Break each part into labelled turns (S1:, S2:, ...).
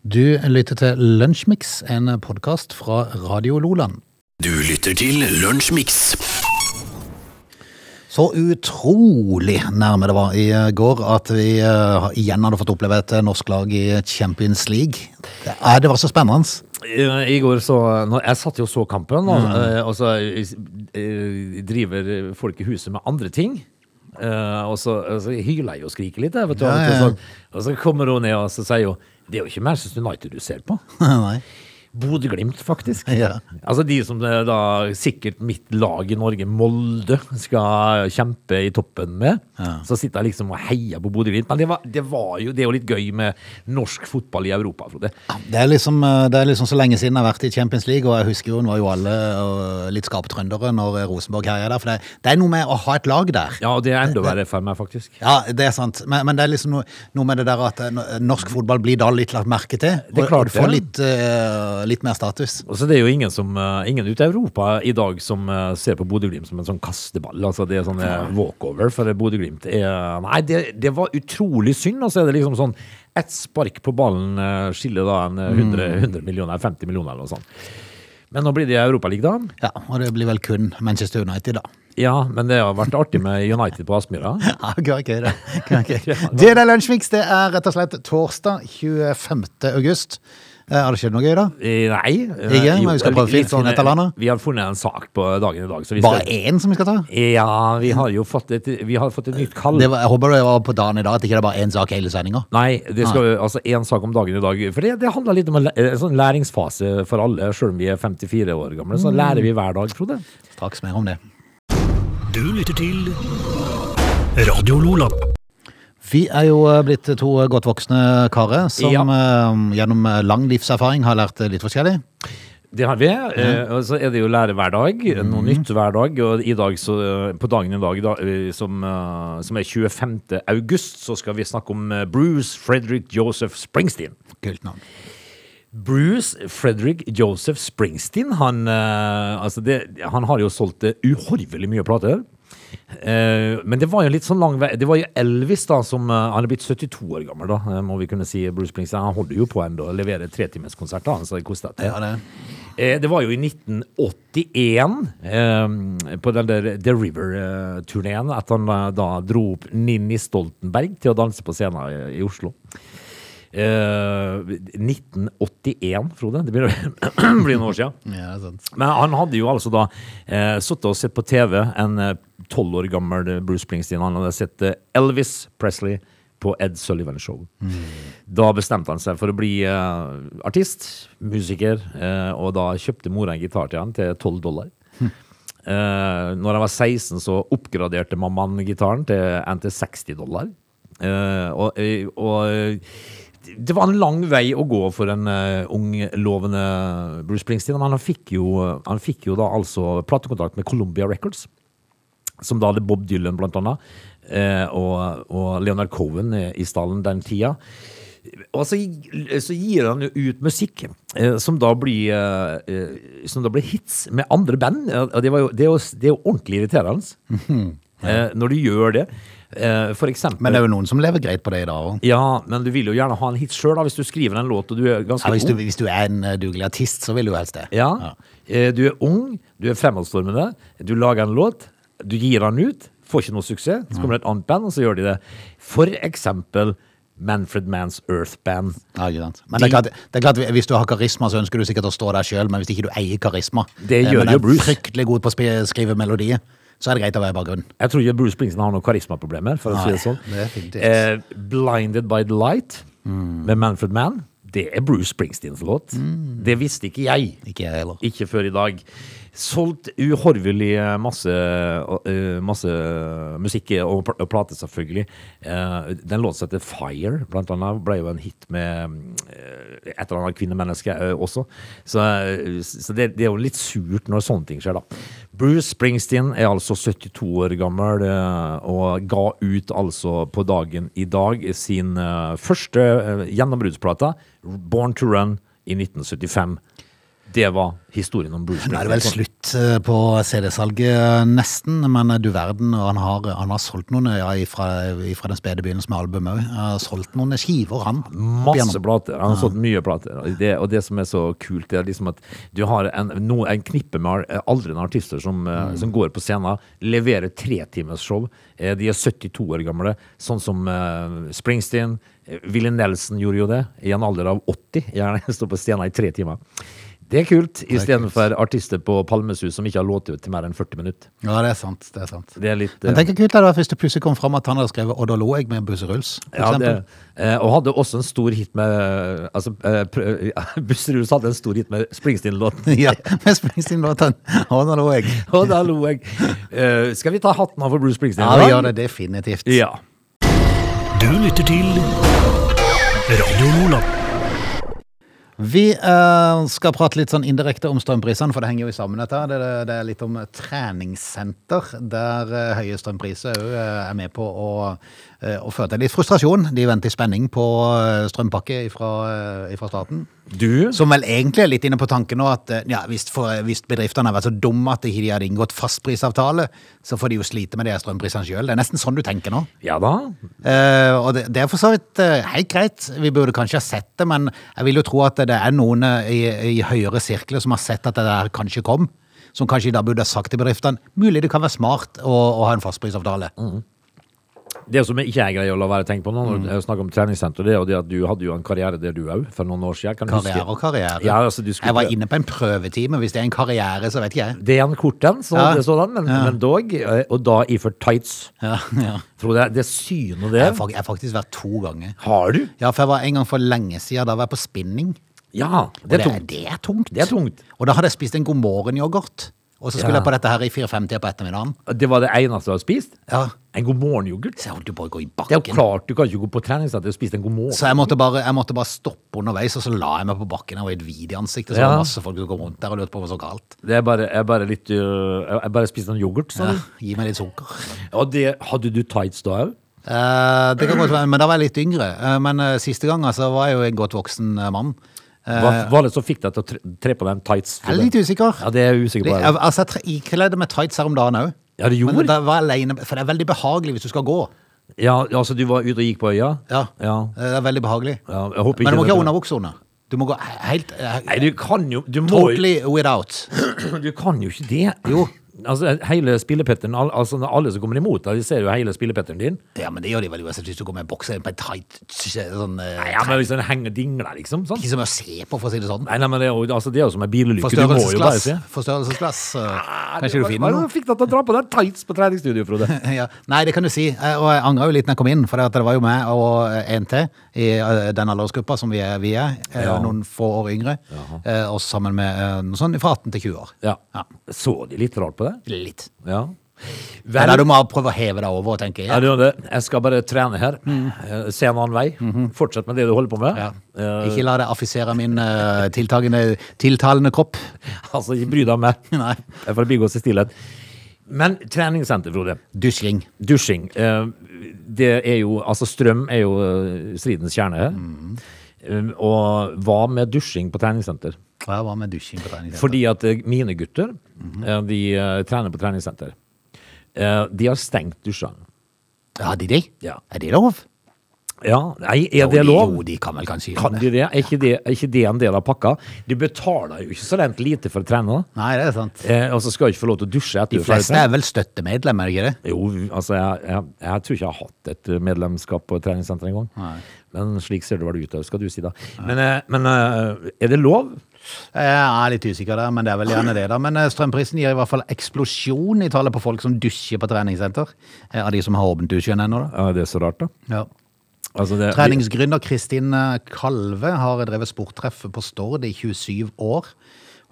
S1: Du lytter til Lunsjmix, en podkast fra Radio Loland.
S2: Du lytter til Lunsjmix.
S1: Så utrolig nærme det var i går at vi eh, igjen hadde fått oppleve et norsk lag i Champions League. Det, er- det var så spennende.
S3: I Eh, i går så når, Jeg satt jo og så kampen, og,
S1: Mm.
S3: eh, og så eh, driver folk i huset med andre ting. Eh, og så, og så hyler jeg og skriker litt. jeg, Vet du,
S1: Ja,
S3: av og til
S1: ja.
S3: sånn. Og så kommer hun ned og så sier jo Det er jo ikke Manchester United du ser på.
S1: Nei.
S3: Bodø-Glimt, faktisk.
S1: Ja.
S3: Altså de som eh, da sikkert mitt lag i Norge, Molde, skal kjempe i toppen med. Så sitter jeg liksom og heier på Bodø-Glimt. Men det, var, det, var jo, det er jo litt gøy med norsk fotball i Europa, Frode.
S1: Det er, liksom, eh, det er liksom så lenge siden jeg har vært i Champions League, og jeg husker jo hun var jo alle eh, litt skaptrøndere når Rosenborg herja der. For det, det er noe med å ha et lag der.
S3: Ja, og det er
S1: Eh,
S3: enda verre for meg, faktisk.
S1: Ja, det er sant. Men, men det er liksom noe, noe med det der at eh, norsk fotball blir da litt lagt merke til.
S3: Det er klart
S1: og du får
S3: det.
S1: litt, eh, litt mer status.
S3: Og så det er jo ingen, som, eh, ingen ute i Europa i dag som eh, ser på Bodø-Glimt som en sånn kasteball. Altså det er sånn eh, walkover for Bodø-Glimt. er- Nei, det, det var utrolig synd. Og så er det liksom sånn ett spark på ballen eh, skiller da en eh,
S1: Mm.
S3: 100, 100 millioner, 50 millioner eller noe sånt. Men nå blir det Europaligaen.
S1: Ja, og det blir vel kun Manchester United, da.
S3: Ja, men det har vært artig med United på Aspmyra.
S1: Ja, gøy, gøy, det. Gøy, gøy. Det er Lunsjmix. Det er rett og slett torsdag 25. august. Eh, Har det skjedd noe gøy, da?
S3: Eh, Nei. eh,
S1: Ikke? Men
S3: jo,
S1: vi skal prøve å
S3: litt
S1: finne- sånn finne et eller annet.
S3: eh, Vi har funnet en sak på dagen i dag. Så vi
S1: Bare
S3: skal,
S1: én som vi skal ta?
S3: ja, vi har jo fått et, vi har fått et nytt kall.
S1: Det var, jeg håper det var på dagen i dag, at ikke det er bare én sak hele sendinga.
S3: Nei, det skal jo altså én sak om dagen i dag. For det, det handler litt om en læ- en sånn læringsfase for alle. Selv om vi er 54 år gamle, så lærer vi hver dag, Frode.
S1: Straks mer om det.
S2: Du lytter til Radio Lola.
S1: Vi er jo eh, blitt to eh, godt voksne karer som
S3: Ja.
S1: eh, gjennom eh, lang livserfaring har lært eh, litt forskjellig.
S3: Det har vi. eh, Og så er det jo lære hver dag. Noe nytt hver dag. Og i dag, så, eh, på dagen i dag, da, eh, som, eh, som er 25. august, så skal vi snakke om eh, Bruce Frederick Joseph Springsteen.
S1: Kult navn.
S3: Bruce Frederick Joseph Springsteen, han, eh, altså det, han har jo solgt eh, uhorvelig mye plater. Eh, men det var jo litt sånn lang vei Det var jo Elvis, da, som eh, Han er blitt 72 år gammel, da, eh, må vi kunne si. Bruce Springsteen Han holder jo på ennå og leverer tretimerskonsert, da. Så det koster
S1: Ja, det.
S3: Eh, Det var jo i 1981, eh, på den der The River-turneen, at han eh, da dro opp Ninni Stoltenberg til å danse på scenen i, i Oslo. Eh, 1981, Frode. Det blir, blir noen år siden.
S1: Ja, det er sant.
S3: Men han hadde jo altså da eh, sittet og sett på TV en eh, tolv år gammel eh, Bruce Springsteen. Han hadde sett eh, Elvis Presley på Ed Sullivan Show. Da bestemte han seg for å bli eh, artist, musiker, eh, og da kjøpte mora en gitar til han til 12 dollar. Eh, når han var 16, så oppgraderte mammaen gitaren til en til 60 dollar. Eh, og, eh, og eh, det var en lang vei å gå for en eh, ung, lovende Bruce Springsteen. Men han fikk jo, han fikk jo da altså platekontrakt med Columbia Records. Som da hadde Bob Dylan, blant annet. eh, og, og Leonard Cohen eh, i stallen den tida. Og så, gi- så gir han jo ut musikk eh, som, da blir, eh, eh, som da blir hits med andre band. Eh, Og det, var jo, det, er jo, s- det er jo ordentlig irriterende eh, når du gjør det. Eh, for eksempel
S1: Men det er jo noen som lever greit på det i dag òg.
S3: Ja, men du vil jo gjerne ha en hit sjøl hvis du skriver en låt og du er ganske
S1: Ja, hvis,
S3: god.
S1: du- hvis du er en eh, dugelig artist, så vil du jo helst det.
S3: Ja. Eh, Du er ung, du er fremadstormende, du lager en låt, du gir den ut, får ikke noe suksess, så kommer det et annet band, og så gjør de det. For eksempel Manfred Manns Earth Band.
S1: Ja, ikke sant. Men det er, klart, det er klart, hvis du har karisma, så ønsker du sikkert å stå der sjøl, men hvis ikke du eier karisma
S3: Det
S1: eh,
S3: gjør
S1: men
S3: jo
S1: er
S3: Bruce.
S1: fryktelig god på å spi- skrive melodier, så er det greit å være i bakgrunnen.
S3: Jeg tror ikke Bruce Springsteen har noen karismaproblemer, for å si det sånn.
S1: Nei, det Mm. er definitivt.
S3: eh, Blinded by the Light med Manfred Mann, det er Bruce Springsteens låt.
S1: Mm.
S3: Det visste ikke jeg.
S1: Ikke jeg heller.
S3: Ikke før i dag. Solgt uhorvelig masse, eh, masse musikk og pl- og plate, selvfølgelig. Eh, Den låta som heter Fire, blant annet, ble jo en hit med eh, et eller annet kvinnemenneske eh, også. Så, eh, så det, det er jo litt surt når sånne ting skjer, da. Bruce Springsteen er altså 72 år gammel eh, og ga ut altså på dagen i dag sin eh, første eh, gjennombruddsplate, Born to Run, i 1975. Det var historien om Bruce
S1: Nå er
S3: Springsteen.
S1: det vel slutt eh, på CD-salget, eh, nesten. Men eh, du verden, og han har, han har solgt noen ja, fra, den spede begynnelsen med albumet òg. Har Solgt noen skiver, han. opp
S3: Masse
S1: igjennom.
S3: plater. Han har solgt mye plater. Og det, og det som er så kult, det er liksom at du har en, no, en knippe med ar- aldrende artister som, eh,
S1: Mm.
S3: som går på scenen, leverer tretimersshow. Eh, De er 72 år gamle, sånn som eh, Springsteen. eh, Willie Nelson gjorde jo det, i en alder av 80. Gjerne står på scenen i tre timer. Det er kult, istedenfor artister på Palmesus som ikke har låter til mer enn 40 minutter.
S1: Ja, det er sant. det er sant.
S3: Det er litt eh,
S1: Men tenk hvor kult det var hvis det plutselig kom fram at han hadde skrevet 'Og da lå jeg med Busseruls'.
S3: Ja, det, eh, og hadde også en stor hit med eh, altså, eh, prø- Busserus hadde en stor hit med Springsteen-låten.
S1: ja, med Springsteen-låten 'Og da lå jeg'.
S3: Og da lo jeg. Eh, skal vi ta hatten av for Bruce Springsteen?
S1: Ja, vi gjør det definitivt.
S3: Ja.
S2: Du lytter til Radio Lola.
S1: Vi eh, skal prate litt sånn indirekte om strømprisene, for det henger jo sammen dette. her. Det, det, det er litt om eh, treningssenter, der eh, høye strømpriser òg er med på å, eh, å føre til litt frustrasjon. De venter i spenning på eh, strømpakke fra staten.
S3: Du?
S1: Som vel egentlig er litt inne på tanken nå at eh, ja, hvis, for, hvis bedriftene har vært så dumme at de ikke hadde inngått fastprisavtale, så får de jo slite med de her strømprisene sjøl. Det er nesten sånn du tenker nå.
S3: Ja da.
S1: Eh, og det, det er for så vidt eh, helt greit. Vi burde kanskje ha sett det, men jeg vil jo tro at det er noen eh, i, i høyere sirkler som har sett at det der kanskje kom. Som kanskje da burde ha sagt til bedriftene mulig det kan være smart å, å ha en fastprisavtale.
S3: Mm, Det som ikke jeg greier å la være å tenke på nå,
S1: Mm.
S3: når jeg snakker om treningssenter, det er jo det at du hadde jo en karriere der du òg, for noen år siden. Kan du huske?
S1: Karriere og karriere.
S3: Ja, altså, du skulle-
S1: jeg var inne på en prøvetime. Hvis det er en karriere, så vet ikke jeg.
S3: Det er en kort en, så,
S1: Ja.
S3: sådan, men, men dog. eh, Og da iført tights.
S1: Ja, ja.
S3: Frode, det synet
S1: Jeg har
S3: der.
S1: fak- jeg har faktisk vært to ganger.
S3: Har du?
S1: Ja, for jeg var en gang for lenge siden. Da var jeg på spinning.
S3: Ja.
S1: Og
S3: Det er tungt.
S1: Det er tungt.
S3: Det er tungt.
S1: Og da hadde jeg spist en God morgen-yoghurt. Og så skulle
S3: Ja.
S1: jeg på dette her i 4-5-tida på ettermiddagen.
S3: Det var det eneste du har spist?
S1: Ja.
S3: En god morgen-yoghurt?
S1: Så jeg holdt jo på å gå i
S3: Det er
S1: bakken.
S3: jo klart du kan ikke gå på treningssenter og spise en god morgen.
S1: Så jeg måtte, bare, jeg måtte bare stoppe underveis, og så la jeg meg på bakken. Jeg var helt hvit i ansiktet, så
S3: Ja.
S1: var det masse folk som kom rundt der og lurte på hva som var galt.
S3: Det er bare, jeg bare litt øh, Jeg jeg bare spiste en yoghurt, sa
S1: Ja,
S3: du.
S1: gi meg litt sukker.
S3: Og det, hadde du tights da òg?
S1: Eh, det kan godt være, men da var jeg litt yngre. Eh, men eh, siste gang altså, var jeg jo en godt voksen eh, mann.
S3: Hva var det som fikk deg til å tre, tre på den tights?
S1: Jeg er litt usikker.
S3: Ja, det er jeg usikker
S1: Litt-
S3: på.
S1: jeg-
S3: Jeg.
S1: altså, jeg tre- ikledde meg tights her om dagen òg.
S3: Ja, du gjorde?
S1: Men da var jeg alene, for det er veldig behagelig hvis du skal gå.
S3: Ja, altså du var ute og gikk på øya?
S1: Ja, Eh,
S3: ja.
S1: Det er veldig behagelig.
S3: Ja, jeg håper ikke
S1: Men du må
S3: det-
S1: ikke ha underbukse under. Du må gå he- helt eh,
S3: Nei, du kan jo Du må jo
S1: Totally without.
S3: Du kan jo ikke det. Jo. Altså, hele spillepetteren, al- altså alle som kommer imot deg, de ser jo hele spillepetteren din.
S1: Ja, men det gjør de vel uansett hvis du går med en bokser på en tight sånn, eh,
S3: Nei, ja, men hvis den henger og dingler, liksom. Sant?
S1: Ikke som å se på, for å si det sånn.
S3: Nei, nei, men det er jo, altså, det er jo som en bilulykke. Du må jo bare
S1: Forstørrelsesglass.
S3: se. Ah,
S1: Forstørrelsesglass. eh,
S3: Det
S1: Kanskje
S3: var-
S1: du finner
S3: hva
S1: noe?
S3: fikk deg til å dra på deg tights på treningsstudio, Frode?
S1: Ja. Nei, det kan du si. Eh, Og jeg angra jo litt når jeg kom inn, for det at det var jo meg og eh, en til i eh, den aldersgruppa som vi er, vi er eh,
S3: Ja.
S1: noen få år yngre, eh, og sammen med eh, noe sånn fra 18 til 20 år.
S3: Ja. Så de litt rart på det?
S1: Litt.
S3: Ja. Vel,
S1: Eller du må prøve å heve deg over og tenke
S3: ja,
S1: ja.
S3: det var det. Jeg skal bare trene her. Eh, Se en annen vei. Fortsett med det du holder på med.
S1: Mm. Mhm. Ja.
S3: Eh,
S1: Ikke la det affisere min eh, tiltagende, tiltalende kropp.
S3: altså, ikke bry deg om meg.
S1: Nei.
S3: Jeg får bigås i stillhet. Men treningssenter, Frode.
S1: Dusjing.
S3: Dusjing. eh, Det er jo Altså, strøm er jo eh, stridens kjerne her.
S1: Mm.
S3: Eh, Og hva med dusjing på treningssenter?
S1: Ja, Mhm. hva med dusjing på trening?
S3: Fordi at eh, mine gutter, eh, de eh, trener på treningssenter. Eh, De har stengt dusjene.
S1: Ja, de, de?
S3: Ja.
S1: Er de lov?
S3: Ja, nei, er
S1: Jo,
S3: det
S1: de-
S3: lov?
S1: Jo, de kan vel kanskje gjøre
S3: Kan
S1: det.
S3: de det? Er ikke det, er ikke det en del av pakka? De betaler jo ikke så rent lite for å trene, da.
S1: Nei, det er sant.
S3: Eh, og så skal de ikke få lov til å dusje etter
S1: De fleste er vel støttemedlemmer, ikke det?
S3: Jo, altså, jeg, jeg, jeg tror ikke jeg har hatt et eh, medlemskap på et treningssenter engang.
S1: Nei.
S3: Men slik ser det vel ut, skal du si, da. Men, eh, men eh, er det lov?
S1: Jeg er litt usikker der, men det er vel gjerne det, da. Men eh, strømprisen gir i hvert fall eksplosjon i tallet på folk som dusjer på treningssenter. eh, Av de som har åpent dusjen ennå, da.
S3: Ja, det er så rart, da.
S1: Ja.
S3: Altså, det,
S1: Treningsgründer Kristin eh, Kalve har drevet sporttreff på Stord i 27 år.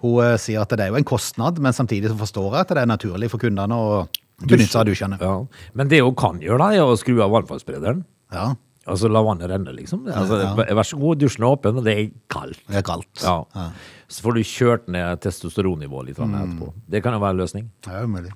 S1: Hun eh, sier at det er jo en kostnad, men samtidig så forstår jeg at det er naturlig for kundene å benytte seg av dusjene.
S3: ja. Men det hun kan gjøre, da, er å skru av vannfallssprederen.
S1: Ja,
S3: Altså la vannet renne, liksom. Altså,
S1: Ja.
S3: vær- Vær så god, dusjen er åpen, og det er kaldt.
S1: det er kaldt.
S3: Ja. Mm. Så får du kjørt ned testosteronnivået litt grann etterpå. Det kan jo være en løsning.
S1: Det er umulig.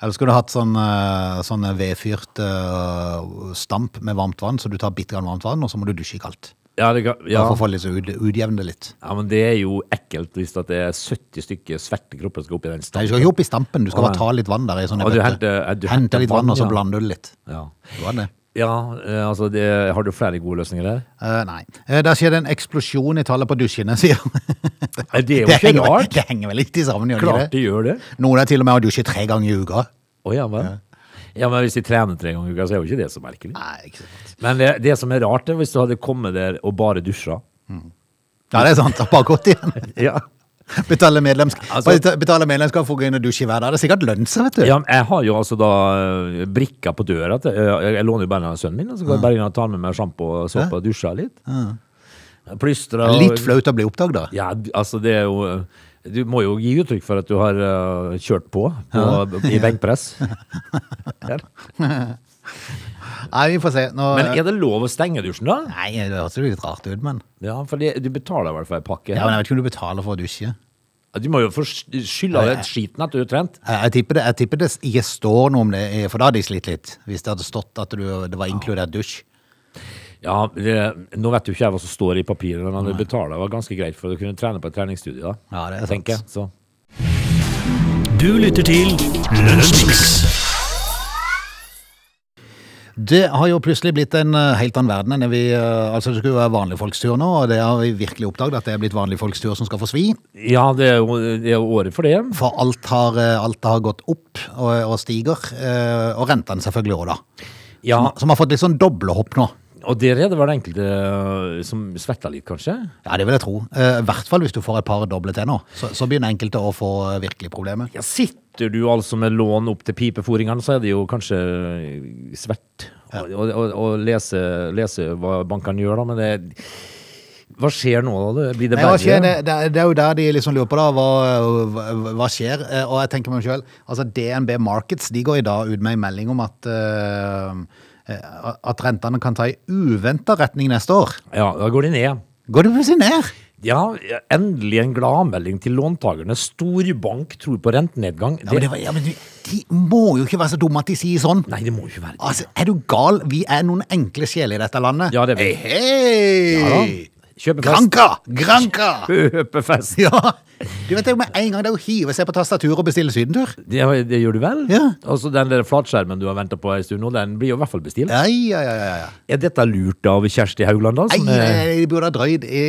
S1: Eller skulle du hatt sånn, eh, sånn vedfyrt eh, stamp med varmt vann, så du tar bitte grann varmt vann, og så må du dusje i kaldt.
S3: Ja, det ga-
S1: Bare
S3: ja.
S1: for å få litt så ut, utjevne det litt.
S3: ja, men det er jo ekkelt hvis at det er 70 stykker sverte kropper som skal opp i
S1: Nei,
S3: den
S1: du
S3: stampen.
S1: skal ikke opp i stampen, du skal bare
S3: Nei.
S1: ta litt vann der i sånne
S3: Og du
S1: bøtter.
S3: henter- eh, du henter
S1: Henter litt vann,
S3: vann,
S1: og så
S3: ja.
S1: blander du det litt.
S3: Ja.
S1: Det var det.
S3: Ja, eh, altså det, Har du flere gode løsninger der?
S1: Eh, nei. Uh, der skjedde en eksplosjon i tallet på dusjene, sier han.
S3: Nei, Det er jo ikke
S1: henger, vel-
S3: rart!
S1: det henger vel litt sammen, gjør
S3: Klart
S1: det ikke det?
S3: de gjør det.
S1: Noen er til og med å dusje tre ganger i uka.
S3: Å ja, vel. Ja, men Hvis de trener tre ganger i uka, så er jo ikke det så merkelig.
S1: Nei, ikke sant.
S3: Men det, det som er rart, er hvis du hadde kommet der og bare dusja.
S1: Ja, det er sant. Det er Bare godt igjen.
S3: Ja.
S1: Betale, medlems
S3: Altså-
S1: Bare betale medlemskap for å gå inn og dusje hver dag. Det er sikkert lønn seg, vet du.
S3: men jeg har jo altså da eh, brikka på døra. Til, eh, jeg, jeg låner jo bare av sønnen min, og så går jeg bare inn og tar med meg sjampo og såpe og dusjer litt. Plystra og-
S1: Litt flaut å bli oppdaget, da.
S3: Ja, d- altså det er jo eh, Du må jo gi uttrykk for at du har eh, kjørt på, på i benkpress. Her.
S1: Nei, vi får se. Nå,
S3: Men er det lov å stenge dusjen, da?
S1: Nei, det høres jo litt rart ut, men
S3: Ja, for det, du betaler i hvert fall en pakke.
S1: Ja, men Jeg vet ikke om du betaler for å dusje.
S3: Du må jo få sk- skylde av deg skiten at du er trent.
S1: Jeg, jeg, tipper det, jeg tipper det ikke står noe om det, eh, for da hadde jeg slitt litt. Hvis det hadde stått at du, det var inkludert dusj.
S3: Ja, det, nå vet jo ikke jeg hva som står i papirene, men du betaler var ganske greit for å kunne trene på et treningsstudie, da.
S1: Ja, det er sant.
S3: tenker jeg. Så.
S2: Du lytter til Lunsjmix.
S1: Det har jo plutselig blitt en eh, helt annen verden enn det vi eh, Altså, det skulle jo være vanlige folks tur nå, og det har vi virkelig oppdaget at det er blitt vanlige folks tur som skal få svi.
S3: Ja, det er jo det er jo året for det.
S1: For alt har, eh, alt har gått opp og, og stiger. eh, Og rentene selvfølgelig òg, da.
S3: Ja,
S1: Som har fått litt sånn doble hopp nå.
S3: og der er det vel enkelte øh, som svetter litt, kanskje?
S1: Ja, det vil jeg tro. Eh, I hvert fall hvis du får et par doble til nå. Så, så begynner enkelte å få eh, virkelig problemer.
S3: Ja, sitter du altså med lån opp til pipeforingene, så er det jo kanskje øh, svett å å- å- å lese, lese hva bankene gjør, da, men det Hva skjer nå, da? Blir det
S1: Nei, hva skjer? Det,
S3: verre?
S1: det, det er jo der de liksom lurer på da, hva, hva, hva skjer? Eh, Og jeg tenker meg selv, altså DNB Markets de går i dag ut med en melding om at, eh, eh, at rentene kan ta i uventet retning neste år.
S3: Ja, da går de ned.
S1: Går det plutselig ned?
S3: Ja, endelig en gladmelding til låntakerne. Storbank tror på rentenedgang.
S1: Ja, men, det, var- ja, men de, de må jo ikke være så dumme at de sier sånn.
S3: Nei, det må jo ikke være det.
S1: Altså, er du gal? Vi er noen enkle sjeler i dette landet.
S3: Ja, det er vi.
S1: Hei, hei!
S3: Ja da. Kjøpe fest.
S1: Granka! Granka!
S3: Kjøpefest.
S1: Ja, du vet det er jo med en gang det er å hive seg på tastaturet og bestille sydentur.
S3: Det, det gjør du vel?
S1: Ja.
S3: Altså, den der flatskjermen du har venta på en stund nå, den blir jo i hvert fall bestilt.
S1: Ja, ja, ja, ja, ja.
S3: Er dette lurt av Kjersti Haugland, da?
S1: Nei,
S3: Som, eh,
S1: jeg burde ha drøyd i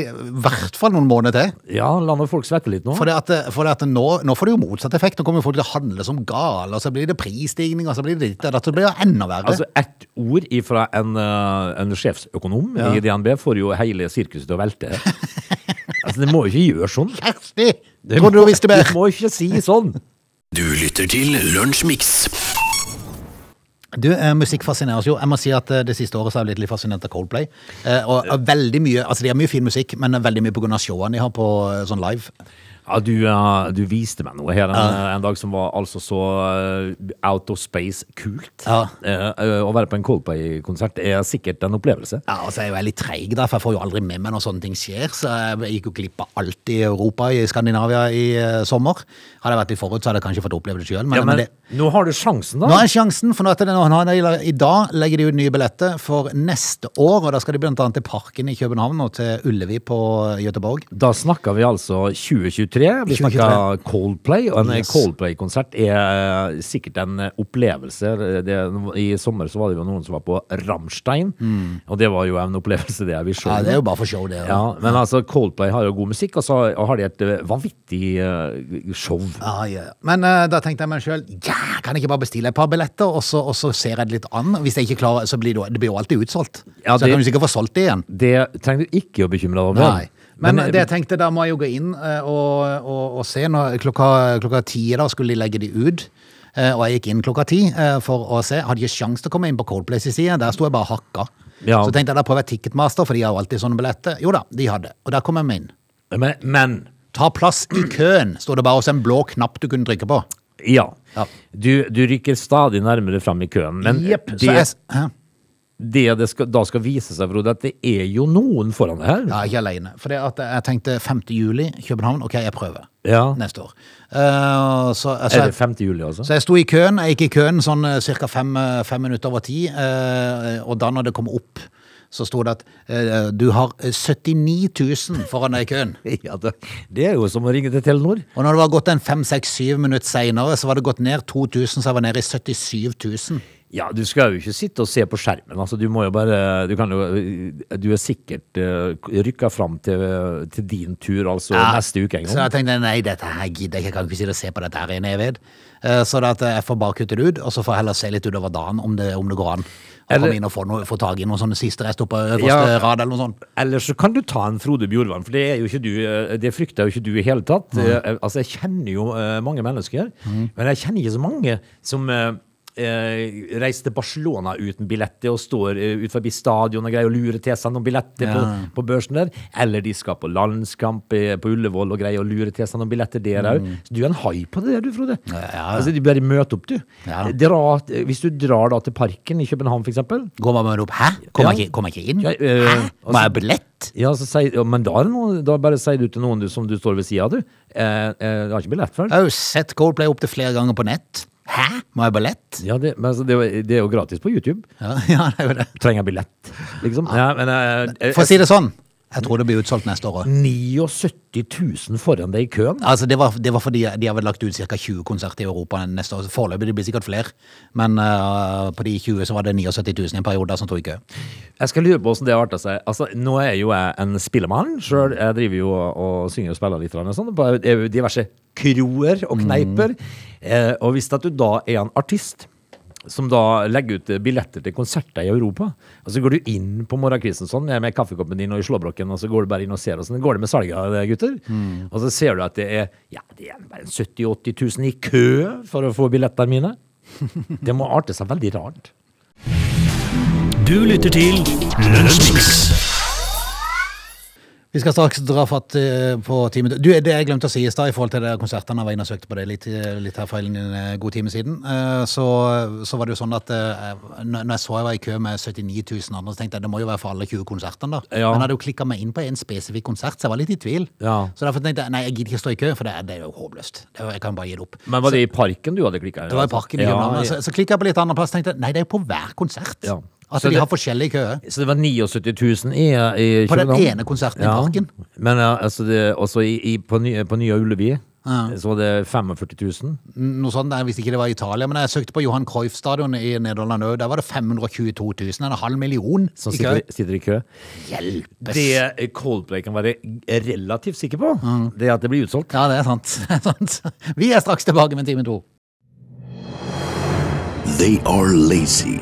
S1: hvert fall noen måneder til.
S3: ja, la nå folk svette litt nå.
S1: For, det at, for det at nå, nå får det jo motsatt effekt. Nå kommer jo folk til å handle som gale, og så blir det prisstigning, og så blir det ditt og datt. Så blir det enda verre.
S3: Altså, ett ord ifra en, eh, en sjefsøkonom i DNB får jo hele sirkuset til å velte. altså, det må jo ikke gjøre sånn.
S1: Kjersti! Trodde du visste mer?
S3: Du må ikke si sånn.
S2: Du lytter til Lunsjmix.
S1: Du, eh, musikk fascinerer oss jo. Jeg må si at eh, det siste året så har jeg blitt litt fascinert av Coldplay. Eh, og, og veldig mye, altså de har mye fin musikk, men veldig mye på grunn av showene de har på eh, sånn live.
S3: Ja, du, eh, du viste meg noe her en, en dag som var altså så eh, out of space kult.
S1: Ja.
S3: Eh, eh, å være på en Coldplay-konsert er sikkert en opplevelse.
S1: Ja, og så er jeg jo jeg litt treig da, for jeg får jo aldri med meg når sånne ting skjer, så jeg gikk jo glipp av alt i Europa, i Skandinavia, i eh, sommer. Hadde jeg vært litt forut, så hadde jeg kanskje fått oppleve det sjøl, men,
S3: Ja, men
S1: men det,
S3: nå har du sjansen,
S1: Nå
S3: da.
S1: er sjansen, for nå etter det, nå, nå, er det- i dag legger de ut nye billetter for neste år, og da skal de blant annet til Parken i København og til Ullevi på Göteborg.
S3: Da snakker vi altså 2023. Vi
S1: 2023.
S3: snakker Coldplay, og en
S1: Yes.
S3: Coldplay-konsert er eh, sikkert en eh, opplevelse. Det, I sommer så var det jo noen som var på Ramstein, og det var jo en opplevelse, det jeg vil
S1: Mm. Ja,
S3: sjøl.
S1: det er jo bare for show, det.
S3: Ja, men altså, Coldplay har jo god musikk, og så har de et eh, vanvittig eh, show.
S1: Ja, ja. Men eh, da tenkte jeg meg sjøl ja, kan jeg ikke bare bestille et par billetter, og så, og så ser jeg det litt an. Hvis jeg ikke klarer, så blir det, jo- det blir jo alltid utsolgt.
S3: Ja,
S1: Så jeg
S3: det-
S1: kan jo sikkert få solgt det igjen.
S3: Det trenger du ikke å bekymre deg over.
S1: Nei. Men,
S3: eh,
S1: det jeg tenkte, da må jeg jo gå inn eh, og, og, og se. Når, klokka, klokka ti da skulle de legge de ut. eh, Og jeg gikk inn klokka ti eh, for å se. Hadde ikke sjans til å komme inn på Coldplay sin side. Der sto jeg bare og hakka.
S3: Ja.
S1: Så tenkte jeg da prøver jeg Ticketmaster, for de har jo alltid sånne billetter. Jo da, de hadde. Og der kom jeg meg inn.
S3: men, men
S1: Ta plass i køen, sto det bare hos en blå knapp du kunne trykke på.
S3: ja.
S1: Ja.
S3: Du, du rykker stadig nærmere fram i køen. Men
S1: Jepp.
S3: det,
S1: Så jeg s- Hæ?
S3: det det skal, da skal vise seg, Frode, at det er jo noen foran det her.
S1: Ja, ikke aleine. For det at jeg tenkte 5. juli, København. Ok, jeg prøver.
S3: Ja.
S1: Neste år. Eh, så, altså,
S3: Er
S1: jeg-
S3: det 5. juli, altså?
S1: Så jeg sto i køen, eh, jeg gikk i køen sånn ca. Fem, eh, fem minutter over ti, eh, og da når det kom opp så sto det at eh, du har 79 000 foran deg i køen.
S3: Ja, det, det er jo som å ringe til Telenor.
S1: Og når det var gått en 5-6-7 minutter senere, så var det gått ned 2000, så jeg var nede i 77 000.
S3: Ja, du skal jo ikke sitte og se på skjermen. Altså, du må jo bare Du, kan jo, du er sikkert uh, rykka fram til, til din tur, altså neste uke en
S1: Så jeg
S3: gang.
S1: tenkte nei, dette her gidder jeg ikke, jeg kan ikke sitte og se på dette her i en evighet. Eh, Så det at jeg får bare kutte det ut, og så får jeg heller se litt utover dagen om det, om det går an. Og
S3: Eller-
S1: komme inn og få, noe, få tag i noen sånne siste rester på øverste
S3: Ja.
S1: rad eller noe sånt.
S3: Eller så kan du ta en Frode Bjorvann, for det er jo ikke du eh, Det frykter jo ikke du i hele tatt. Eh, Altså, jeg kjenner jo eh, mange mennesker,
S1: Mm.
S3: men jeg kjenner ikke så mange som eh, eh, reiser til Barcelona uten billetter og står eh, ut forbi stadion og greier å lure til seg noen billetter
S1: Ja.
S3: på, på børsen der. Eller de skal på landskamp eh, på Ullevål og greier å lure til seg noen billetter der òg. Så du er en hai på det der, du, Frode.
S1: Mm. Ja.
S3: Altså, du bare møter opp, du.
S1: Ja.
S3: Dra, eh, hvis du drar da til Parken i København, for eksempel.
S1: Går man med opp, hæ? Kommer
S3: Ja.
S1: jeg ikke, kom jeg ikke inn?
S3: Ja, eh,
S1: hæ?
S3: altså-
S1: Må jeg ha billett?
S3: Ja, så sier- ja, men da, er det noen, da bare sier du til noen du, som du står ved siden av, du. Eh, eh, du har ikke billett for
S1: Jeg
S3: den.
S1: har jo sett Coldplay opp til flere ganger på nett. Hæ? Må jeg ha billett?
S3: Ja, det, men altså, det, er jo- det er jo gratis på YouTube.
S1: Ja, ja, det er jo det.
S3: Trenger billett, liksom. Ja, men, eh, eh,
S1: For å si det sånn, jeg tror det blir utsolgt neste år òg.
S3: 79 000 foran deg i køen.
S1: Altså, det, var, det var fordi de har vel lagt ut ca. 20 konserter i Europa neste år. Foreløpig det blir sikkert flere, men eh, på de 20 så var det 79 000 i en periode altså, som tok i kø.
S3: Jeg skal lure på hvordan det har arta seg. Altså, nå er jo jeg en spillemann sjøl. Jeg driver jo og, og synger og spiller litt og sånn, på eh, diverse kroer og kneiper. Eh, og hvis at du da er en artist som da legger ut eh, billetter til konserter i Europa. Og så går du inn på morgenkvisten sånn, med, med kaffekoppen din og i slåbroken, og så går du bare inn og ser åssen går det med salget av det, gutter. Og så ser du at det er ja, det er bare 70 000-80 000 i kø for å få billettene mine. Det må arte seg veldig rart.
S2: Du lytter til Lunsjmix.
S1: Vi skal straks dra fatt eh, på timen. Du, det jeg glemte å si i stad i forhold til det konsertene jeg var inne og søkte på det litt, eh, litt her for en eh, god time siden, eh, så, så var det jo sånn at eh, når når jeg så jeg var i kø med 79 000 andre, så tenkte jeg det må jo være for alle 20 konsertene, da.
S3: Ja.
S1: Men jeg hadde jo klikka meg inn på en spesifikk konsert, så jeg var litt i tvil.
S3: Ja.
S1: Så derfor tenkte jeg nei, jeg gidder ikke stå i kø, for det er, det er jo håpløst. Det er, jo- jeg kan bare gi det opp.
S3: Men var det i parken du hadde klikka?
S1: Det var i parken i København. Altså,
S3: Ja,
S1: Så, så klikka jeg på litt andre plass og tenkte jeg, nei, det er jo på hver konsert.
S3: Ja.
S1: At
S3: Så
S1: de
S3: det-
S1: har forskjellige køer.
S3: så det var 79 000 i, eh, i
S1: På den
S3: København?
S1: ene konserten i parken.
S3: Men ja, altså det, også i, i, på, Ny- på Nya Ullevi
S1: Ja.
S3: så var det 45 000.
S1: Noe sånt, der, Hvis ikke det var Italia. Men jeg søkte på Johan Cruyff-stadion i Nederland òg. Der var det 522 000. En halv million
S3: Som
S1: i kø.
S3: sitter, sitter i kø.
S1: Hjelpes!
S3: Det eh, Coldplay kan være relativt sikker på, det er at det blir utsolgt.
S1: Ja, det er sant. Det er sant. Vi er straks tilbake med time to.
S4: They are lazy.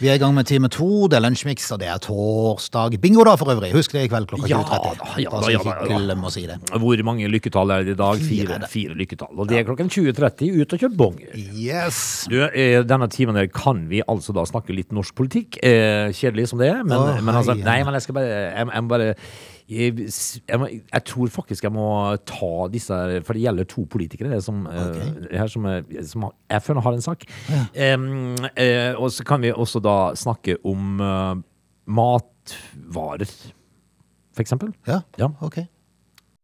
S1: Vi er i gang med time to. Det er lunsjmix, og det er torsdag. Bingo, da, for øvrig. Husk det i kveld klokka
S3: Ja
S1: 20.30.
S3: da, ja
S1: Bare
S3: da,
S1: så vi
S3: ja da,
S1: ikke
S3: ja da.
S1: glemmer å si det.
S3: Hvor mange lykketall er det i dag?
S1: Fire,
S3: Fire,
S1: det.
S3: fire lykketall. Og det er klokken 20.30 ut og kjøpe bonger.
S1: Yes!
S3: Du, eh, denne timen her kan vi altså da snakke litt norsk politikk. Eh, kjedelig som det er, men,
S1: Åh,
S3: men altså
S1: hei,
S3: Nei,
S1: ja.
S3: men jeg skal bare Jeg, jeg må bare jeg, jeg, må, jeg tror faktisk jeg må ta disse her, For det gjelder to politikere det som, eh, her som, eh, som har, jeg føler har en sak. Em, eh, og så kan vi også da snakke om eh, matvarer, for eksempel.
S1: Ja,
S3: Ja.
S1: ok.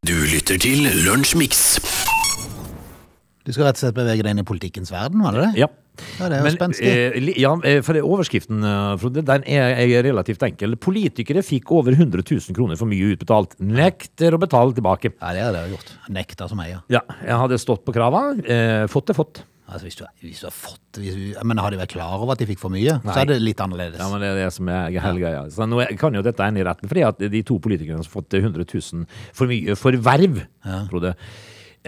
S2: Du lytter til Lunsjmix.
S1: Du skal rett og slett bevege deg inn i politikkens verden, var det det?
S3: Ja.
S1: Ja, det er jo spenstig.
S3: eh, li- ja, eh, for det- overskriften, eh, Frode, den er, er relativt enkel. Politikere fikk over 100 000 kroner for mye utbetalt. Nekter å betale tilbake.
S1: Ja, det hadde jeg gjort. Nekta som eier.
S3: Ja, jeg hadde stått på krava. Eh, fått det, fått.
S1: Altså, hvis, du, hvis du har fått hvis du, Men hadde de vært klar over at de fikk for mye,
S3: Nei.
S1: så er det litt annerledes.
S3: Ja, men det er det som er hele greia. Så nå er- kan jo dette ende i retten, fordi at de to politikerne som har fått 100 000 for mye for verv, Frode,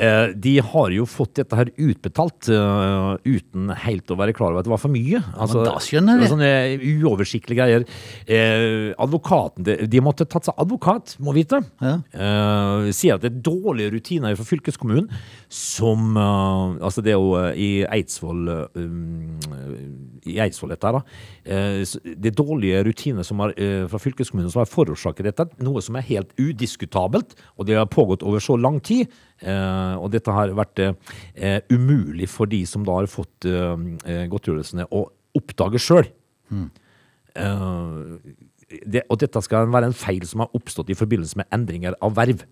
S3: Eh, de har jo fått dette her utbetalt eh, uten helt å være klar over at det var for mye. Altså,
S1: da skjønner jeg.
S3: Sånne uoversiktlige greier. Eh, advokaten, de, de måtte tatt seg advokat, må vite.
S1: Ja.
S3: Eh, sier at det er dårlige rutiner fra fylkeskommunen, som eh, Altså, det er jo eh, i Eidsvoll eh, um, I Eidsvoll, dette her, da. Eh, s- det er dårlige rutiner som har, eh, fra fylkeskommunen som har forårsaket dette, noe som er helt udiskutabelt, og det har pågått over så lang tid. Eh, og dette har vært eh, eh, umulig for de som da har fått eh, eh, godtgjørelsene, å oppdage sjøl. Eh, det, og dette skal være en feil som har oppstått i forbindelse med endringer av verv.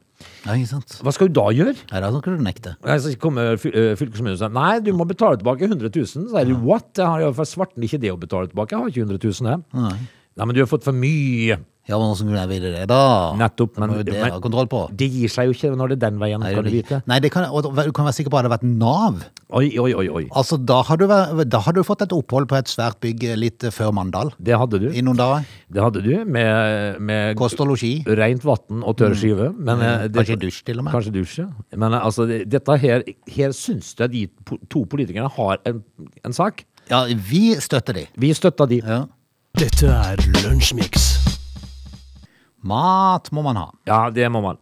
S1: Ja, ikke sant?
S3: Hva skal du da gjøre?
S1: Nei, da kan du nekte.
S3: Nei, Så kommer fy- eh, fylkeskommunen og sier nei, du må betale tilbake 100 000. Så er det what? Jeg har iallfall svarten ikke det å betale tilbake. Jeg har ikke 100 000 her. Nei. men du har fått for mye.
S1: Ja, men hvordan kunne jeg vite det, da?
S3: Nettopp.
S1: Det må
S3: Men,
S1: jo det
S3: men
S1: ha kontroll på.
S3: det gir seg jo ikke når det er den veien.
S1: Nei,
S3: kan du
S1: det-
S3: vite.
S1: Nei, det kan, og du kan være sikker på at det hadde vært Nav.
S3: Oi, oi, oi, oi.
S1: Altså, da har, du, væ- da har du fått et opphold på et svært bygg litt før Mandal
S3: Det hadde du.
S1: i noen dager.
S3: Det hadde du med, med
S1: Kost og losji.
S3: rent vann og tørr skive. Men, eh, det-
S1: Mm. Kanskje dusj til og med.
S3: Kanskje dusj, ja. Men eh, altså, det- dette her, her syns jeg de po- to politikerne har en, en sak.
S1: Ja, vi støtter de.
S3: Vi støtter de.
S1: Ja.
S2: Dette er Lunsjmix.
S1: Mat må man ha.
S3: Ja, det må man.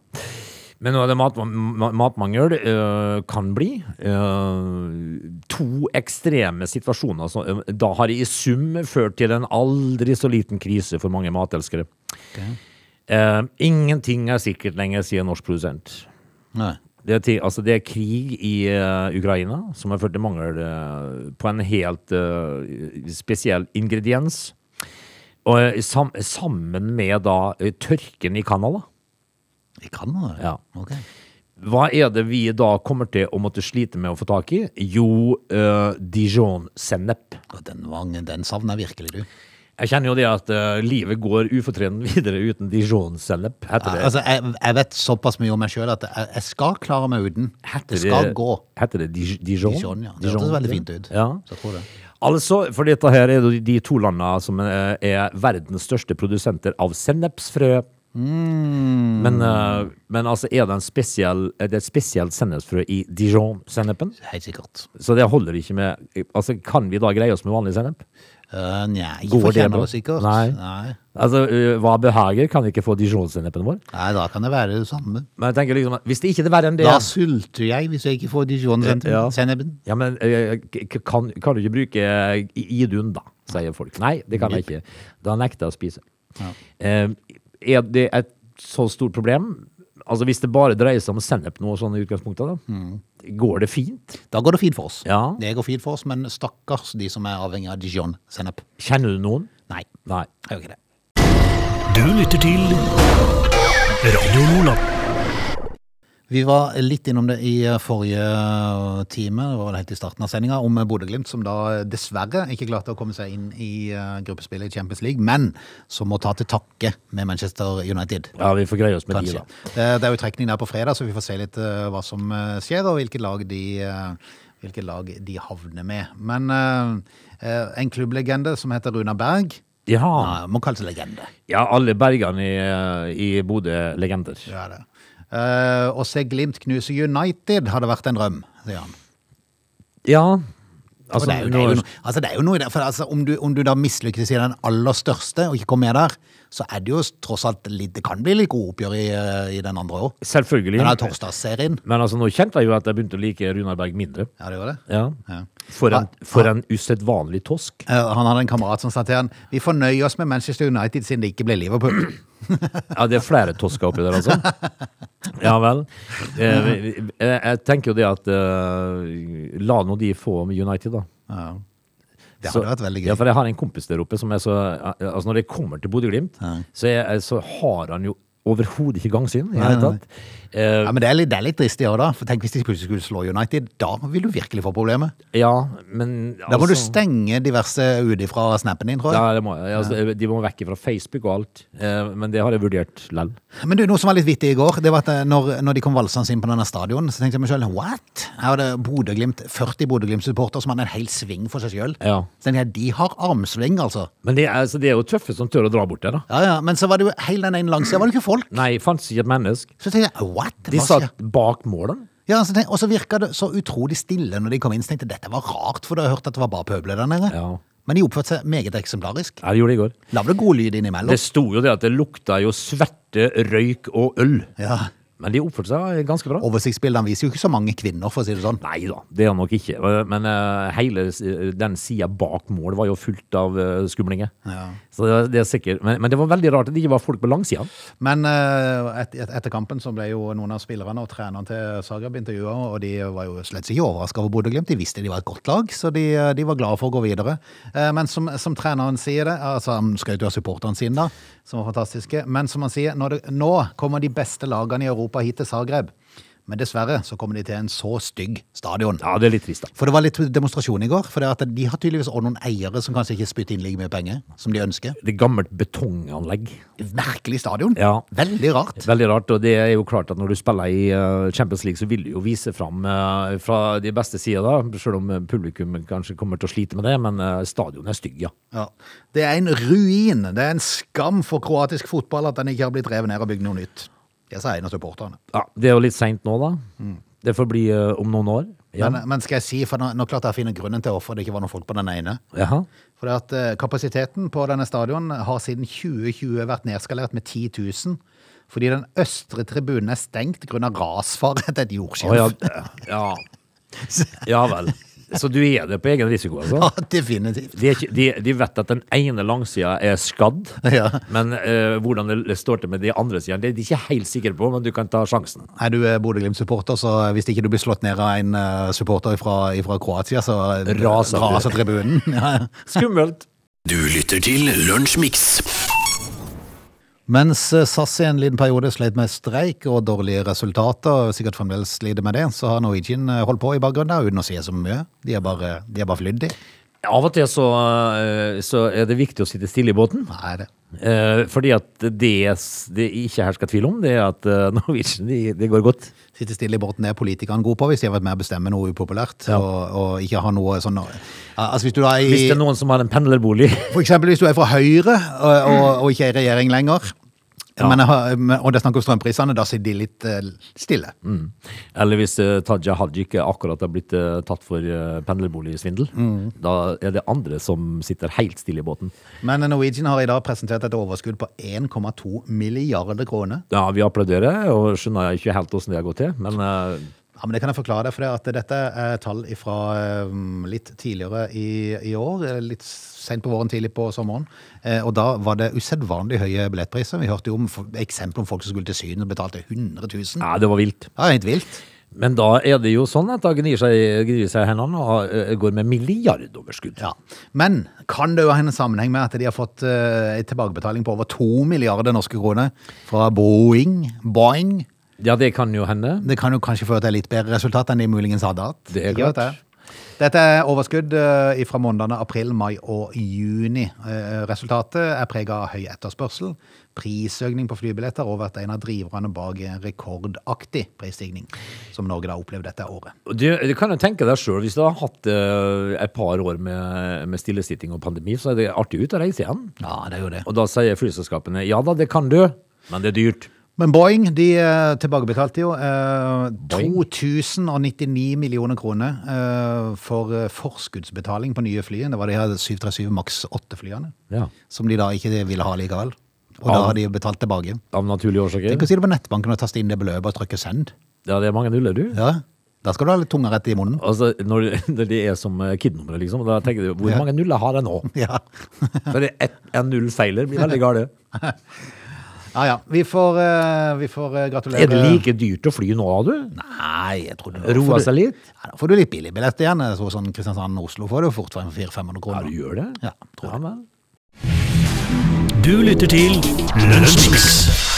S3: Men nå er det mat, ma- matmangel øh, kan bli. øh, to ekstreme situasjoner som øh, da har i sum ført til en aldri så liten krise for mange matelskere. Eh, ingenting er sikkert lenger, sier norsk produsent.
S1: Nei.
S3: Det er, ti- altså det er krig i eh, Ukraina som har ført til mangel eh, på en helt eh, spesiell ingrediens. Og, eh, sam, sammen med da eh, tørken i Canada.
S1: I Canada?
S3: Ja.
S1: Ok.
S3: Hva er det vi da kommer til å måtte slite med å få tak i? Jo, eh, Dijon-sennep.
S1: Og Den, vang- den savner jeg virkelig, du.
S3: Jeg kjenner jo det at eh, livet går ufortrødent videre uten Dijon-sennep, heter det.
S1: Altså, jeg, jeg vet såpass mye om meg sjøl at jeg, jeg skal klare meg uten. Det skal gå.
S3: Heter det Dij- Dijon?
S1: Dijon, ja. Det hørtes veldig fint ut.
S3: Ja.
S1: Så jeg tror det.
S3: Altså, for dette her er jo de to landene som eh, er verdens største produsenter av sennepsfrø. Men, eh, men altså, er det, en spesiell, er det et spesielt sennepsfrø i Dijon-sennepen?
S1: Helt sikkert.
S3: Så det holder ikke med Altså, kan vi da greie oss med vanlig sennep?
S1: Uh, Nja, ikke
S3: Går
S1: for
S3: det bra?
S1: kjenner, sikkert.
S3: Nei.
S1: Nei.
S3: Altså, ø, hva behager kan ikke få dijonsennepen vår?
S1: Nei, da kan det være det samme.
S3: Men jeg tenker liksom at hvis det ikke er verre enn det
S1: Da sulter jeg hvis jeg ikke får
S3: Ja.
S1: dijon-sennepen.
S3: Ja, men ø, k- k- kan, kan du ikke bruke eh, i- Idun, da? Sier folk. Nei, det kan jeg ikke. Da nekter jeg å spise. Eh, Er det et så stort problem? Altså, hvis det bare dreier seg om sennep nå, sånn i utgangspunktet, da.
S1: Mm.
S3: Går det fint?
S1: Da går det fint for oss.
S3: Ja.
S1: Det går fint for oss, men stakkars de som er avhengig av dijon-sennep.
S3: Kjenner du noen?
S1: Nei,
S3: Nei.
S1: jeg gjør ikke det.
S2: Du lytter til Radio Nordland.
S1: Vi var litt innom det i eh, forrige eh, time, det var vel helt i starten av sendinga, om eh, Bodø-Glimt, som da dessverre ikke klarte å komme seg inn i eh, gruppespillet i Champions League, men som må ta til takke med Manchester United.
S3: Ja, vi får greie oss med de,
S1: Kanskje. Eh,
S3: da.
S1: Det det er jo trekning der på fredag, så vi får se litt eh, hva som eh, skjer, og hvilke lag de, eh, hvilke lag de havner med. Men eh, eh, en klubblegende som heter Runa Berg
S3: Ja,
S1: Nei, Må kalles legende.
S3: ja alle bergene i, i Bodø er legender.
S1: Ja, det. Eh, Å se Glimt knuse United hadde vært en drøm, sier han.
S3: Ja.
S1: Og det er jo- det er jo no- Altså, det er jo noe i det. For altså, om, du, om du da mislykkes i den aller største og ikke kommer med der, så er det jo tross alt litt Det kan bli litt gode oppgjør i, eh, i den andre òg.
S3: Selvfølgelig.
S1: Den her torsdagsserien.
S3: Men altså, nå kjente jeg jo at jeg begynte å like Runar Berg mindre.
S1: Ja, det gjør det.
S3: Ja.
S1: Ja.
S3: For en,
S1: Ja.
S3: for en usedvanlig tosk.
S1: Eh, Han hadde en kamerat som sa til han Vi fornøyer oss med Manchester United siden det ikke ble Liverpool.
S3: Ja, det er flere tosker oppi der, altså. Ja vel. Eh, vi- vi- Jeg, jeg tenker jo det at eh, La nå de få med United, da.
S1: Ja. Det
S3: Så-
S1: hadde vært veldig
S3: Ja,
S1: gøy.
S3: for jeg har en kompis der oppe som er så Altså, når det kommer til Bodø-Glimt, så, er- eh, så har han jo overhodet ikke gangsyn i det hele tatt. Eh,
S1: Ja, men det er litt, det er litt trist i år, da. For tenk hvis de plutselig skulle slå United. Da vil du virkelig få problemer.
S3: Ja, men
S1: Da må du
S3: altså-
S1: stenge diverse ute fra snappen din, tror jeg.
S3: Ja, det må, jeg. altså, de må vekk fra Facebook og alt. Eh, Men det har jeg vurdert lell.
S1: Men du, noe som var litt vittig i går, det var at eh, når, når de kom valsende inn på denne stadion, så tenkte jeg meg sjøl what? Her var det Bodø-Glimt, 40 Bodø-Glimt-supporter som hadde en hel sving for seg sjøl.
S3: Ja.
S1: Så tenkte jeg, de har armsving, altså.
S3: Men det er, altså, det er jo tøffe som tør å dra bort der, da.
S1: Ja, ja, Men så var det jo hele den ene langsida, var det ikke folk?
S3: Nei, fantes ikke et menneske.
S1: Så tenkte jeg what?
S3: De
S1: Hva skjer?
S3: satt bak målen.
S1: Ja, altså, tenk- og så virka det så utrolig stille når de kom inn. Så tenkte jeg dette var rart, for du har hørt at det var bare pøbler der nede.
S3: Ja.
S1: Men de oppførte seg meget eksemplarisk.
S3: Ja, det gjorde det i går.
S1: La vel god lyd innimellom.
S3: Det sto jo det at det lukta jo svette, røyk og øl.
S1: Ja.
S3: Men de oppførte seg ganske bra.
S1: Oversiktsbildene viser jo ikke så mange kvinner, for å si det sånn.
S3: Nei da, det er han nok ikke. Men eh, hele s- den sida bak mål var jo fullt av eh, skumlinger.
S1: Ja.
S3: Så det, det er sikkert. Men, men det var veldig rart at det ikke var folk på langsida.
S1: Men eh, et, et, etter kampen så ble jo noen av spillerne og treneren til Zagreb intervjua, og de var jo slett ikke overraska over Bodø-Glimt. De visste de var et godt lag, så de, eh, de var glade for å gå videre. Eh, men som, som treneren sier det, altså han skrøt jo av supporterne sine, da, som var fantastiske, men som han sier, når det, nå kommer de beste lagene i Europa hit til Zagreb. Men dessverre så kommer de til en så stygg stadion.
S3: Ja, det er litt trist, da.
S1: For det var litt demonstrasjon i går, for det at de har tydeligvis også noen eiere som kanskje ikke spytter inn like mye penger som de ønsker.
S3: Det er gammelt betonganlegg.
S1: Merkelig stadion.
S3: Ja.
S1: Veldig rart.
S3: Veldig rart, og det er jo klart at når du spiller i eh, Champions League, så vil du jo vise fram eh, fra de beste sida, da. Selv om eh, publikum kanskje kommer til å slite med det, men eh, stadionet er stygg, ja.
S1: Ja. Det er en ruin. Det er en skam for kroatisk fotball at den ikke har blitt revet ned og bygd noe nytt. Det sa en av supporterne.
S3: ja. Det er jo litt seint nå, da.
S1: Mm.
S3: Det får bli eh, om noen år. Ja.
S1: Men, men skal jeg si, for nå, nå klarte jeg å finne grunnen til hvorfor det ikke var noen folk på den ene.
S3: Jaha.
S1: For det at eh, kapasiteten på denne stadion har siden 2020 vært nedskalert med 10 000. Fordi den østre tribunen er stengt grunnet rasfare etter et
S3: Å,
S1: jordskjelv.
S3: ja. ja. ja vel. Så du er det på egen risiko, altså?
S1: ja, definitivt.
S3: De, er ikke, de, de vet at den ene langsida er skadd,
S1: Ja.
S3: men eh, hvordan det står til med de andre sidene, det er de ikke helt sikre på, men du kan ta sjansen.
S1: Er du eh, Bodø-Glimt-supporter, så hvis ikke du blir slått ned av en eh, supporter fra, Kroatia, så
S3: Raser du.
S1: raser tribunen. Ja, ja.
S3: Skummelt.
S2: Du lytter til Lunsjmix.
S1: Mens eh, SAS i en liten periode slet med streik og dårlige resultater, og sikkert fremdeles sliter med det, så har Norwegian eh, holdt på i bakgrunnen der, uten å si så mye. De er bare, de er bare flydd, de.
S3: Av og til så, eh, så er det viktig å sitte stille i båten.
S1: Nei, det.
S3: eh, fordi at det s- det ikke hersker tvil om, det er at eh, Norwegian, det de går godt.
S1: Sitte stille i båten er politikerne gode på, hvis de har vært med å bestemme noe upopulært,
S3: Ja.
S1: og, og ikke har noe sånn eh, Altså hvis du da er
S3: Hvis
S1: i
S3: det er noen som har en pendlerbolig
S1: For eksempel hvis du er fra Høyre og, og, og ikke er i regjering lenger,
S3: Ja.
S1: men, jeg har- men- og det er snakk om strømprisene, da sitter de litt eh, stille.
S3: Mm. Eller hvis eh, Taja Haji ikke akkurat har blitt eh, tatt for eh, pendlerboligsvindel, da er det andre som sitter helt stille i båten.
S1: Men Norwegian har i dag presentert et overskudd på 1,2 milliarder kroner.
S3: Ja, vi applauderer, og skjønner ikke helt hvordan det har gått til, men eh,
S1: Ja, men Det kan jeg forklare deg, for det at dette er tall fra litt tidligere i, i år. eh, Litt sent på våren, tidlig på sommeren. Eh, Og da var det usedvanlig høye billettpriser. Vi hørte jo om f- eksempler om folk som skulle til Syden og betalte 100 000.
S3: ja, det var vilt.
S1: Det er helt vilt.
S3: Men da er det jo sånn at da gnir seg, gnir seg hendene og eh, går med milliardoverskudd.
S1: Ja. Men kan det jo ha en sammenheng med at de har fått eh, en tilbakebetaling på over 2 milliarder norske kroner fra Boeing? Boeing?
S3: Ja, det kan jo hende.
S1: Det kan jo kanskje føre til litt bedre resultat enn de muligens hadde hatt.
S3: Det er
S1: Ikke vet
S3: klart.
S1: jeg. Dette er overskudd eh, fra månedene april, mai og juni. Eh, Resultatet er prega av høy etterspørsel, prisøkning på flybilletter og vært en av driverne bak en rekordaktig prisstigning, som Norge da har opplevd dette året.
S3: Og Du, du kan jo tenke deg sjøl, hvis du har hatt eh, et par år med, med stillesitting og pandemi, så er det artig ut å reise igjen.
S1: Ja, det er jo det.
S3: Og da sier flyselskapene ja da, det kan du, men det er dyrt.
S1: Men Boeing de eh, tilbakebetalte jo eh,
S3: Boeing?
S1: 2099 millioner kroner eh, for eh, forskuddsbetaling på nye fly. Det var de her 737 Max 8-flyene,
S3: Ja.
S1: som de da ikke ville ha likevel. Og da
S3: Ja.
S1: har de betalt tilbake.
S3: Av naturlige
S1: Tenk å
S3: årsaker.
S1: si det på nettbanken og taste inn det beløpet og trykke 'send'.
S3: Ja, det er mange nuller, du.
S1: Ja, Da skal du ha litt tunga rett i munnen.
S3: Altså, når, når det er som eh, KID-nummeret, liksom. Da tenker du hvor
S1: Ja.
S3: mange nuller har jeg nå?
S1: Ja.
S3: For det er ett- en null feiler blir veldig gale.
S1: ja ja. Vi får, eh, vi får eh, gratulere.
S3: Er det like dyrt å fly nå, da, du?
S1: Nei, jeg tror det
S3: Roa seg litt?
S1: Ja, da får du litt billig billett igjen. Så sånn Kristiansand-Oslo får du fort 400-500
S3: Ja,
S1: kroner.
S3: du gjør det?
S1: Ja, tror
S3: Ja, vel.
S2: Du lytter til Lunsjmix.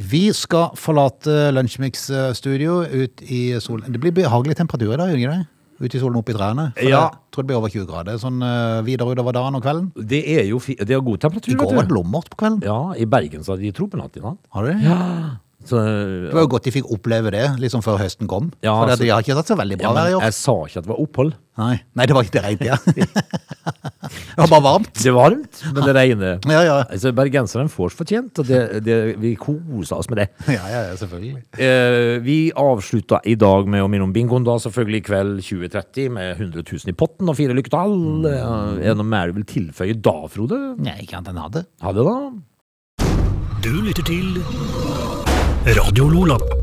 S1: Vi skal forlate Lunsjmix eh, studio ut i solen. Det blir behagelig temperatur i dag, gjør det ikke det? Ute i solen oppe i trærne. For
S3: Ja.
S1: Jeg tror det blir over 20 grader sånn eh, videre utover dagen og kvelden.
S3: Det er jo fi det er god temperatur,
S1: I går var
S3: vet
S1: det
S3: du.
S1: blommert på kvelden.
S3: Ja, I Bergen så hadde de tropenatt i natt.
S1: Har du det?
S3: Så,
S1: Det var jo godt de fikk oppleve det liksom før høsten kom.
S3: Ja,
S1: for det,
S3: altså-
S1: de har ikke tatt så veldig
S3: ja,
S1: bra
S3: men
S1: vær i år.
S3: jeg sa ikke at det var opphold.
S1: Nei, Nei det var ikke rent, ja. det var bare varmt.
S3: Det var varmt, men det regnet.
S1: Ja, ja.
S3: Altså, Bergenserne får fortjent, og det, det, vi koser oss med det.
S1: Ja, ja, ja, selvfølgelig.
S3: Eh, vi avslutta i dag med å minne om bingoen, da selvfølgelig i kveld 2030 med 100 000 i potten og fire lykketall. Eh, Er det noe mer du vil tilføye da, Frode?
S1: Nei, ikke annet enn hadde.
S3: Ha det, da.
S2: Du lytter til Radio Lola.